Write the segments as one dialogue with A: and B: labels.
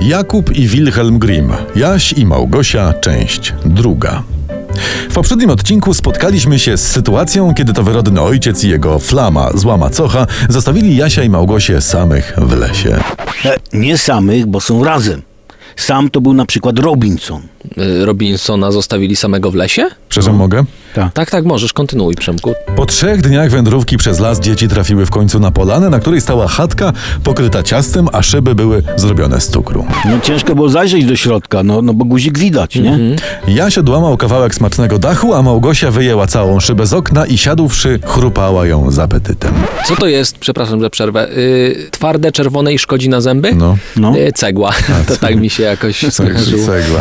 A: Jakub i Wilhelm Grimm, Jaś i Małgosia, część druga. W poprzednim odcinku spotkaliśmy się z sytuacją, kiedy to wyrodny ojciec i jego flama, zła macocha, zostawili Jasia i Małgosię samych w lesie.
B: E, nie samych, bo są razem. Sam to był na przykład Robinson.
C: y, Robinsona zostawili samego w lesie?
A: Przepraszam, mogę?
C: Tak, tak, możesz, kontynuuj Przemku.
A: Po trzech dniach wędrówki przez las dzieci trafiły w końcu na polanę, na której stała chatka pokryta ciastem, a szyby były zrobione z cukru.
B: No ciężko było zajrzeć do środka, no, no bo guzik widać, nie?
A: Mhm. Jaś odłamał kawałek smacznego dachu, a Małgosia wyjęła całą szybę z okna i siadłszy, chrupała ją z apetytem.
C: Co to jest, przepraszam za przerwę, y, twarde, czerwone i szkodzi na zęby?
A: No.
B: No.
C: Y, cegła, to tak mi się jakoś skojarzyło.
A: Cegła.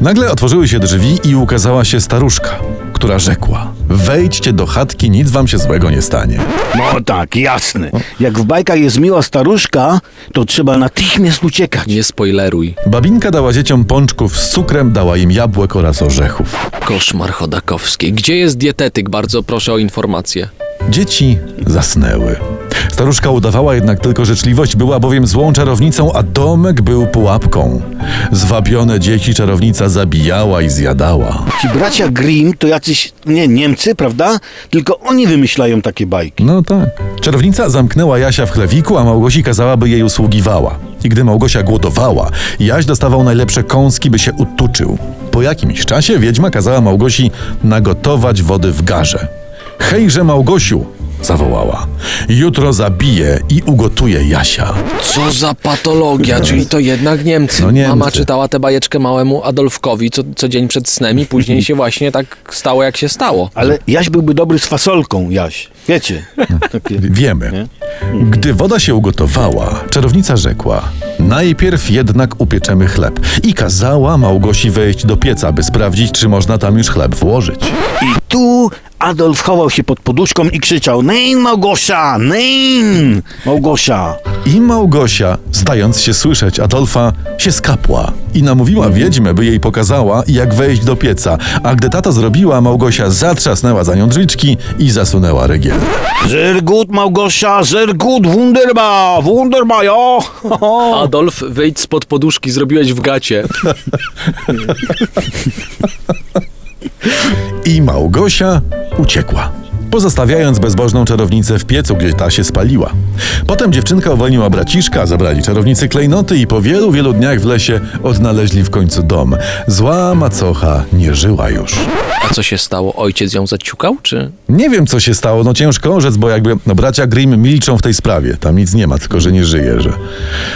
A: Nagle otworzyły się drzwi i ukazała się staruszka, która rzekła: Wejdźcie do chatki, nic wam się złego nie stanie.
B: No tak, jasne. Jak w bajkach jest miła staruszka, to trzeba natychmiast uciekać.
C: Nie spoileruj.
A: Babinka dała dzieciom pączków z cukrem, dała im jabłek oraz orzechów.
C: Koszmar Chodakowski. Gdzie jest dietetyk? Bardzo proszę o informację.
A: Dzieci zasnęły. Staruszka udawała jednak tylko życzliwość, była bowiem złą czarownicą, a domek był pułapką. Zwabione dzieci czarownica zabijała i zjadała.
B: Ci bracia Grimm to jacyś, nie, Niemcy, prawda? Tylko oni wymyślają takie bajki.
A: No tak. Czarownica zamknęła Jasia w chlewiku, a Małgosi kazała, by jej usługiwała. I gdy Małgosia głodowała, Jaś dostawał najlepsze kąski, by się utuczył. Po jakimś czasie wiedźma kazała Małgosi nagotować wody w garze. Hejże Małgosiu! zawołała. Jutro zabiję i ugotuję Jasia.
C: Co za patologia, czyli to jednak Niemcy.
A: No, Niemcy.
C: Mama czytała tę bajeczkę małemu Adolfkowi co, co dzień przed snem i później się właśnie tak stało, jak się stało.
B: Ale Jaś byłby dobry z fasolką, Jaś. Wiecie? Takie...
A: Wiemy. Gdy woda się ugotowała, czarownica rzekła: Najpierw jednak upieczemy chleb. I kazała Małgosi wejść do pieca, by sprawdzić, czy można tam już chleb włożyć.
B: I tu Adolf chował się pod poduszką i krzyczał Nein, Małgosia! Nein! Małgosia!
A: I Małgosia, zdając się słyszeć Adolfa, się skapła i namówiła wiedźmę, by jej pokazała, jak wejść do pieca. A gdy tata zrobiła, Małgosia zatrzasnęła za nią drzwiczki i zasunęła rygiel.
B: Sehr gut, Małgosia, sehr gut, wunderbar, wunderbar, jo! Ho, ho.
C: Adolf, wyjdź spod poduszki, zrobiłeś w gacie.
A: I Małgosia uciekła. Pozostawiając bezbożną czarownicę w piecu, gdzie ta się spaliła. Potem dziewczynka uwolniła braciszka, zabrali czarownicy klejnoty i po wielu, wielu dniach w lesie odnaleźli w końcu dom. Zła macocha nie żyła już.
C: A co się stało? Ojciec ją zaciukał, czy?
A: Nie wiem, co się stało. No ciężko orzec, bo jakby no, bracia Grimm milczą w tej sprawie. Tam nic nie ma, tylko że nie żyje, że...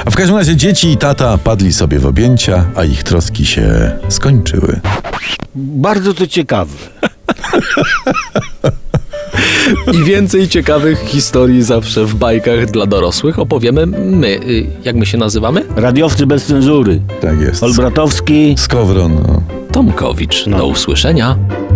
A: A w każdym razie dzieci i tata padli sobie w objęcia, a ich troski się skończyły.
B: Bardzo to ciekawe.
C: I więcej ciekawych historii zawsze w bajkach dla dorosłych opowiemy my. Y, Jak my się nazywamy?
B: Radiowcy bez cenzury.
A: Tak jest.
B: Olbratowski.
A: Skowron, no.
C: Tomkowicz. Do usłyszenia.